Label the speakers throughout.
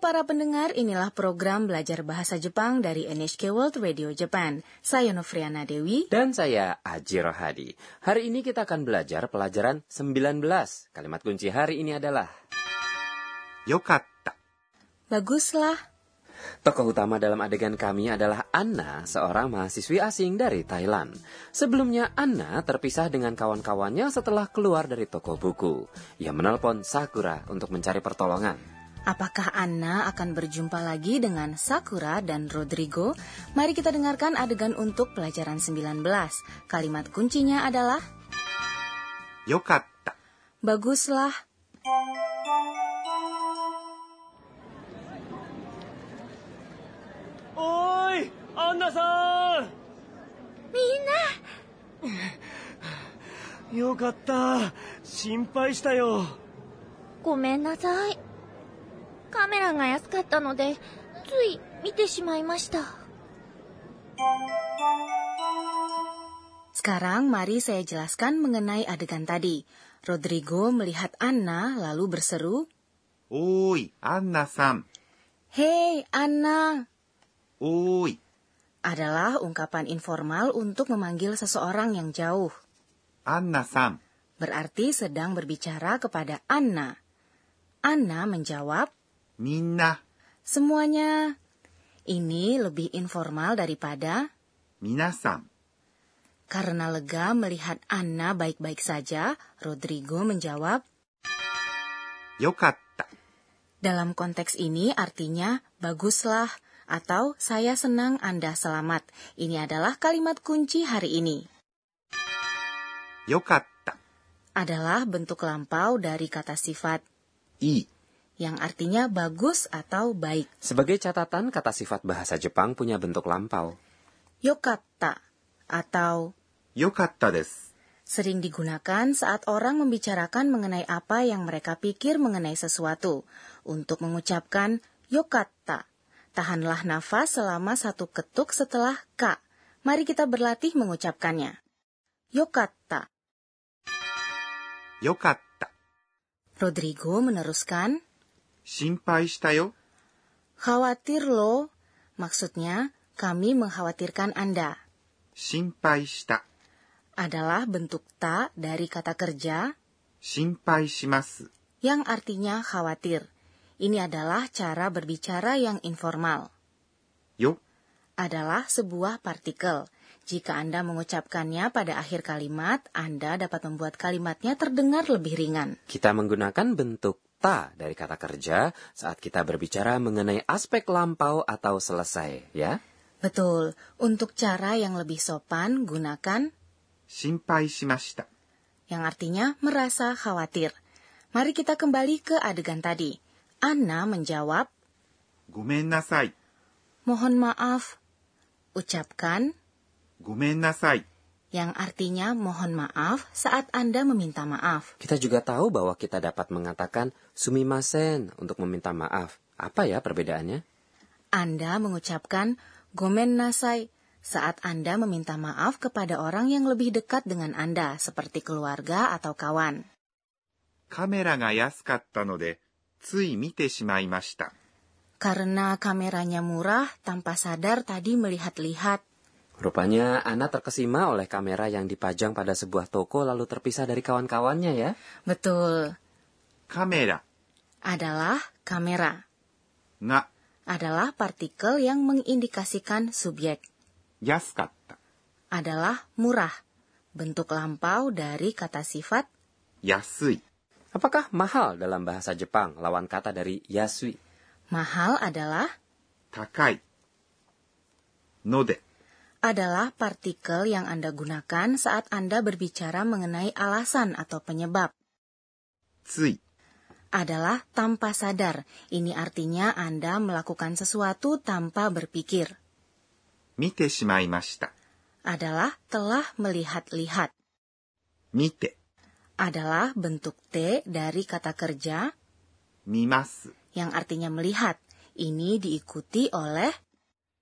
Speaker 1: para pendengar, inilah program belajar bahasa Jepang dari NHK World Radio Japan. Saya Novriana Dewi.
Speaker 2: Dan saya Ajiro Hadi. Hari ini kita akan belajar pelajaran 19. Kalimat kunci hari ini adalah
Speaker 3: よかった。
Speaker 1: Baguslah.
Speaker 2: Tokoh utama dalam adegan kami adalah Anna, seorang mahasiswi asing dari Thailand. Sebelumnya Anna terpisah dengan kawan-kawannya setelah keluar dari toko buku. Ia menelpon Sakura untuk mencari pertolongan.
Speaker 1: Apakah Anna akan berjumpa lagi dengan Sakura dan Rodrigo? Mari kita dengarkan adegan untuk pelajaran 19. Kalimat kuncinya adalah
Speaker 3: よかった。
Speaker 1: baguslah.
Speaker 4: 「 よかった心配したよ
Speaker 5: ごめんなさい。カメラが安かったので、つい見てしまいました。
Speaker 1: Sekarang mari saya jelaskan mengenai adegan tadi. Rodrigo melihat Anna lalu berseru,
Speaker 3: おーい、アンナさん。
Speaker 1: "Hei, Anna."
Speaker 3: おーい、
Speaker 1: Adalah ungkapan informal untuk memanggil seseorang yang jauh.
Speaker 3: アンナさん。
Speaker 1: Berarti sedang berbicara kepada Anna. Anna menjawab,
Speaker 3: みんな、
Speaker 1: Semuanya ini lebih informal daripada
Speaker 3: 皆さん。
Speaker 1: karena lega melihat Anna baik-baik saja, Rodrigo menjawab,
Speaker 3: よかった。
Speaker 1: dalam konteks ini artinya baguslah atau saya senang Anda selamat. Ini adalah kalimat kunci hari ini.
Speaker 3: よかった。
Speaker 1: Adalah bentuk lampau dari kata sifat
Speaker 3: いい。
Speaker 1: yang artinya bagus atau baik.
Speaker 2: Sebagai catatan, kata sifat bahasa Jepang punya bentuk lampau.
Speaker 1: Yokatta atau
Speaker 3: よかったです。
Speaker 1: sering digunakan saat orang membicarakan mengenai apa yang mereka pikir mengenai sesuatu. Untuk mengucapkan yokata, tahanlah nafas selama satu ketuk setelah ka. Mari kita berlatih mengucapkannya. Yokata.
Speaker 3: よかった。
Speaker 1: Rodrigo meneruskan,
Speaker 3: 心配したよ。
Speaker 1: khawatir lo. Maksudnya, kami mengkhawatirkan Anda.
Speaker 3: 心配した。
Speaker 1: Adalah bentuk ta dari kata kerja
Speaker 3: 心配します。
Speaker 1: yang artinya khawatir. Ini adalah cara berbicara yang informal.
Speaker 3: よ、
Speaker 1: adalah sebuah partikel. Jika Anda mengucapkannya pada akhir kalimat, Anda dapat membuat kalimatnya terdengar lebih ringan.
Speaker 2: Kita menggunakan bentuk ta dari kata kerja saat kita berbicara mengenai aspek lampau atau selesai, ya.
Speaker 1: Betul, untuk cara yang lebih sopan, gunakan
Speaker 3: 心配しました。
Speaker 1: yang artinya merasa khawatir. Mari kita kembali ke adegan tadi. Anna menjawab,
Speaker 3: ごめんなさい。
Speaker 1: mohon maaf. Ucapkan
Speaker 3: ごめんなさい。
Speaker 1: yang artinya mohon maaf saat Anda meminta maaf.
Speaker 2: Kita juga tahu bahwa kita dapat mengatakan sumimasen untuk meminta maaf. Apa ya perbedaannya?
Speaker 1: Anda mengucapkan gomen nasai saat Anda meminta maaf kepada orang yang lebih dekat dengan Anda, seperti keluarga atau kawan.
Speaker 3: カメラが安かったので、つい見てしまいました。
Speaker 1: Karena kameranya murah, tanpa sadar tadi melihat-lihat.
Speaker 2: Rupanya Ana terkesima oleh kamera yang dipajang pada sebuah toko lalu terpisah dari kawan-kawannya ya.
Speaker 1: Betul,
Speaker 3: カメラ
Speaker 1: adalah kamera.
Speaker 3: が
Speaker 1: Adalah partikel yang mengindikasikan subjek.
Speaker 3: 安かった。
Speaker 1: Adalah murah. Bentuk lampau dari kata sifat
Speaker 3: 安い。
Speaker 2: Apakah mahal dalam bahasa Jepang lawan kata dari yasui?
Speaker 1: mahal adalah
Speaker 3: 高い。ので、
Speaker 1: adalah partikel yang Anda gunakan saat Anda berbicara mengenai alasan atau penyebab.
Speaker 3: つい、
Speaker 1: Adalah tanpa sadar. Ini artinya Anda melakukan sesuatu tanpa berpikir.
Speaker 3: 見てしまいました。
Speaker 1: Adalah telah melihat-lihat.
Speaker 3: 見て、
Speaker 1: Adalah bentuk T dari kata kerja
Speaker 3: 見ます。
Speaker 1: yang artinya melihat. Ini diikuti oleh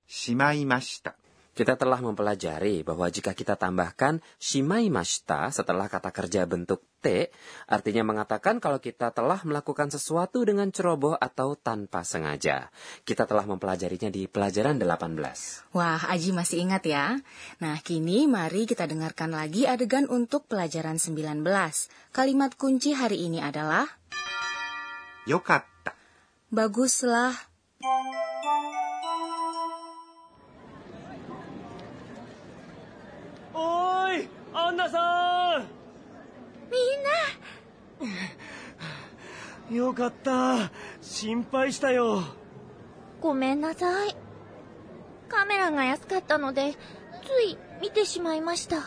Speaker 3: しまいました。
Speaker 2: Kita telah mempelajari bahwa jika kita tambahkan shimaimashita setelah kata kerja bentuk te, artinya mengatakan kalau kita telah melakukan sesuatu dengan ceroboh atau tanpa sengaja. Kita telah mempelajarinya di pelajaran 18.
Speaker 1: Wah, Aji masih ingat ya. Nah, kini mari kita dengarkan lagi adegan untuk pelajaran 19. Kalimat kunci hari ini adalah
Speaker 3: よかった。
Speaker 1: baguslah.
Speaker 4: 「おーいアンナさん」みんなよかった心配したよ
Speaker 5: ごめんなさい。カメラが安かったので、つい見てしまいました。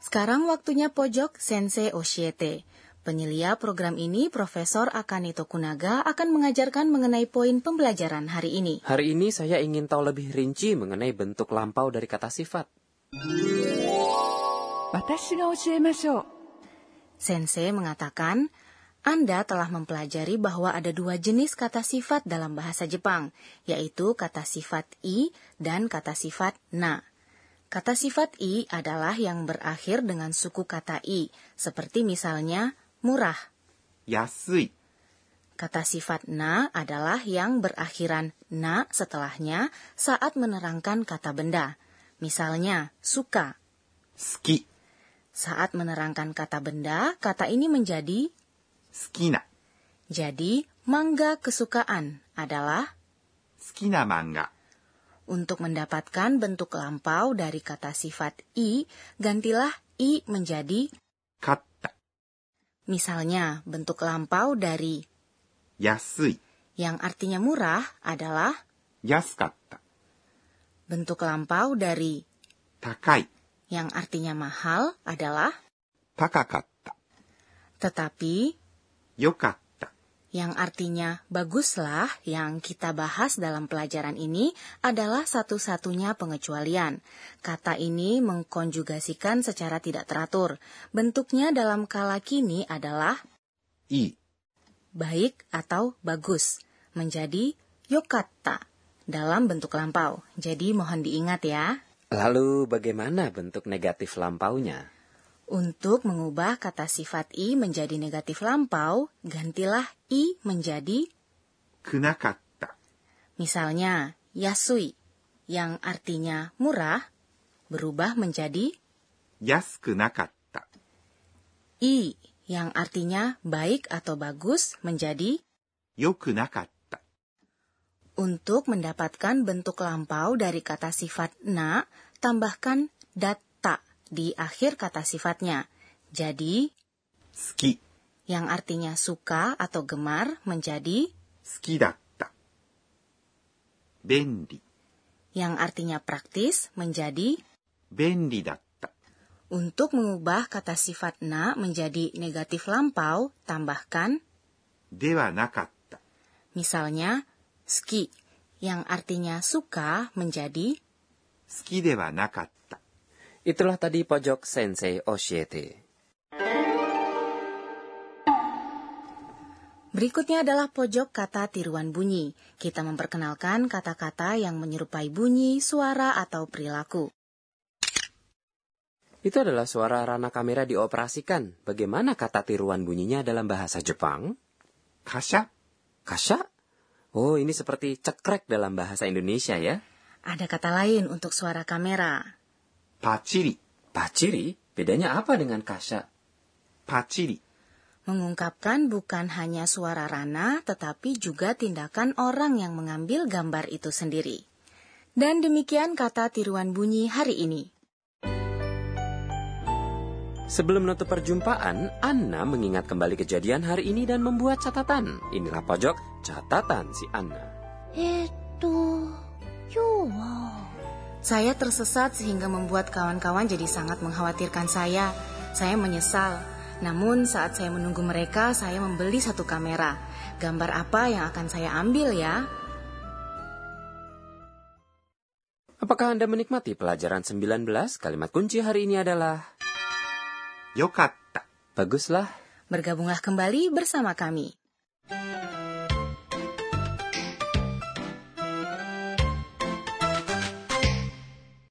Speaker 1: Sekarang waktunya pojok Sensei Oshiete. Penyelia program ini, Profesor Akane Tokunaga akan mengajarkan mengenai poin pembelajaran hari ini.
Speaker 2: Hari ini saya ingin tahu lebih rinci mengenai bentuk lampau dari kata sifat.
Speaker 6: 私が教えましょう
Speaker 1: Sensei mengatakan, Anda telah mempelajari bahwa ada dua jenis kata sifat dalam bahasa Jepang, yaitu kata sifat i dan kata sifat na. Kata sifat i adalah yang berakhir dengan suku kata i, seperti misalnya murah.
Speaker 3: 安い。
Speaker 1: Kata sifat na adalah yang berakhiran na setelahnya saat menerangkan kata benda. Misalnya, suka.
Speaker 3: 好き。好
Speaker 1: Saat menerangkan kata benda, kata ini menjadi
Speaker 3: きな。
Speaker 1: Jadi, manga kesukaan adalah
Speaker 3: 好きな漫画。
Speaker 1: untuk mendapatkan bentuk lampau dari kata sifat i, gantilah i menjadi
Speaker 3: 買った。
Speaker 1: misalnya bentuk lampau dari
Speaker 3: 安い。
Speaker 1: yang artinya murah adalah
Speaker 3: 安かった。
Speaker 1: bentuk lampau dari
Speaker 3: 高い。
Speaker 1: yang artinya mahal adalah
Speaker 3: 高かった。
Speaker 1: tetapi
Speaker 3: よかった。
Speaker 1: yang artinya baguslah yang kita bahas dalam pelajaran ini adalah satu-satunya pengecualian. Kata ini mengkonjugasikan secara tidak teratur. Bentuknya dalam kala kini adalah
Speaker 3: いい。
Speaker 1: baik atau bagus menjadi yokatta dalam bentuk lampau. Jadi mohon diingat ya.
Speaker 2: Lalu bagaimana bentuk negatif lampaunya?
Speaker 1: Untuk mengubah kata sifat i menjadi negatif lampau, gantilah i menjadi
Speaker 3: くなかった。
Speaker 1: Misalnya, yasui yang artinya murah berubah menjadi
Speaker 3: 安くなかった。
Speaker 1: i yang artinya baik atau bagus menjadi
Speaker 3: 良くなかった。
Speaker 1: untuk mendapatkan bentuk lampau dari kata sifat na tambahkan data di akhir kata sifatnya. Jadi
Speaker 3: 好き。好
Speaker 1: yang artinya suka atau gemar menjadi
Speaker 3: きだった。便利。
Speaker 1: yang artinya praktis menjadi
Speaker 3: 便利だった。
Speaker 1: untuk mengubah kata sifat na menjadi negatif lampau tambahkan
Speaker 3: ではなかった。
Speaker 1: Misalnya, ski yang artinya suka menjadi
Speaker 3: 好きではなかった。
Speaker 2: Itulah tadi pojok Sensei Oshiete.
Speaker 1: Berikutnya adalah pojok kata tiruan bunyi. Kita memperkenalkan kata-kata yang menyerupai bunyi, suara, atau perilaku.
Speaker 2: Itu adalah suara rana kamera dioperasikan. Bagaimana kata tiruan bunyinya dalam bahasa Jepang?
Speaker 3: カシャ
Speaker 2: Kasha? Oh, ini seperti cekrek dalam bahasa Indonesia ya.
Speaker 1: Ada kata lain untuk suara kamera.
Speaker 3: パチリ。
Speaker 2: Paciri? Bedanya apa dengan kasha?
Speaker 3: パチリ。
Speaker 1: Mengungkapkan bukan hanya suara rana, tetapi juga tindakan orang yang mengambil gambar itu sendiri. Dan demikian kata tiruan bunyi hari ini.
Speaker 2: Sebelum menutup perjumpaan, Anna mengingat kembali kejadian hari ini dan membuat catatan. Inilah pojok catatan si Anna.
Speaker 5: えーっと、今日は、
Speaker 1: Saya tersesat sehingga membuat kawan-kawan jadi sangat mengkhawatirkan saya. Saya menyesal. Namun saat saya menunggu mereka, saya membeli satu kamera. Gambar apa yang akan saya ambil ya?
Speaker 2: Apakah Anda menikmati pelajaran 19? Kalimat kunci hari ini adalah
Speaker 3: よかった。
Speaker 2: baguslah
Speaker 1: Bergabunglah kembali bersama kami.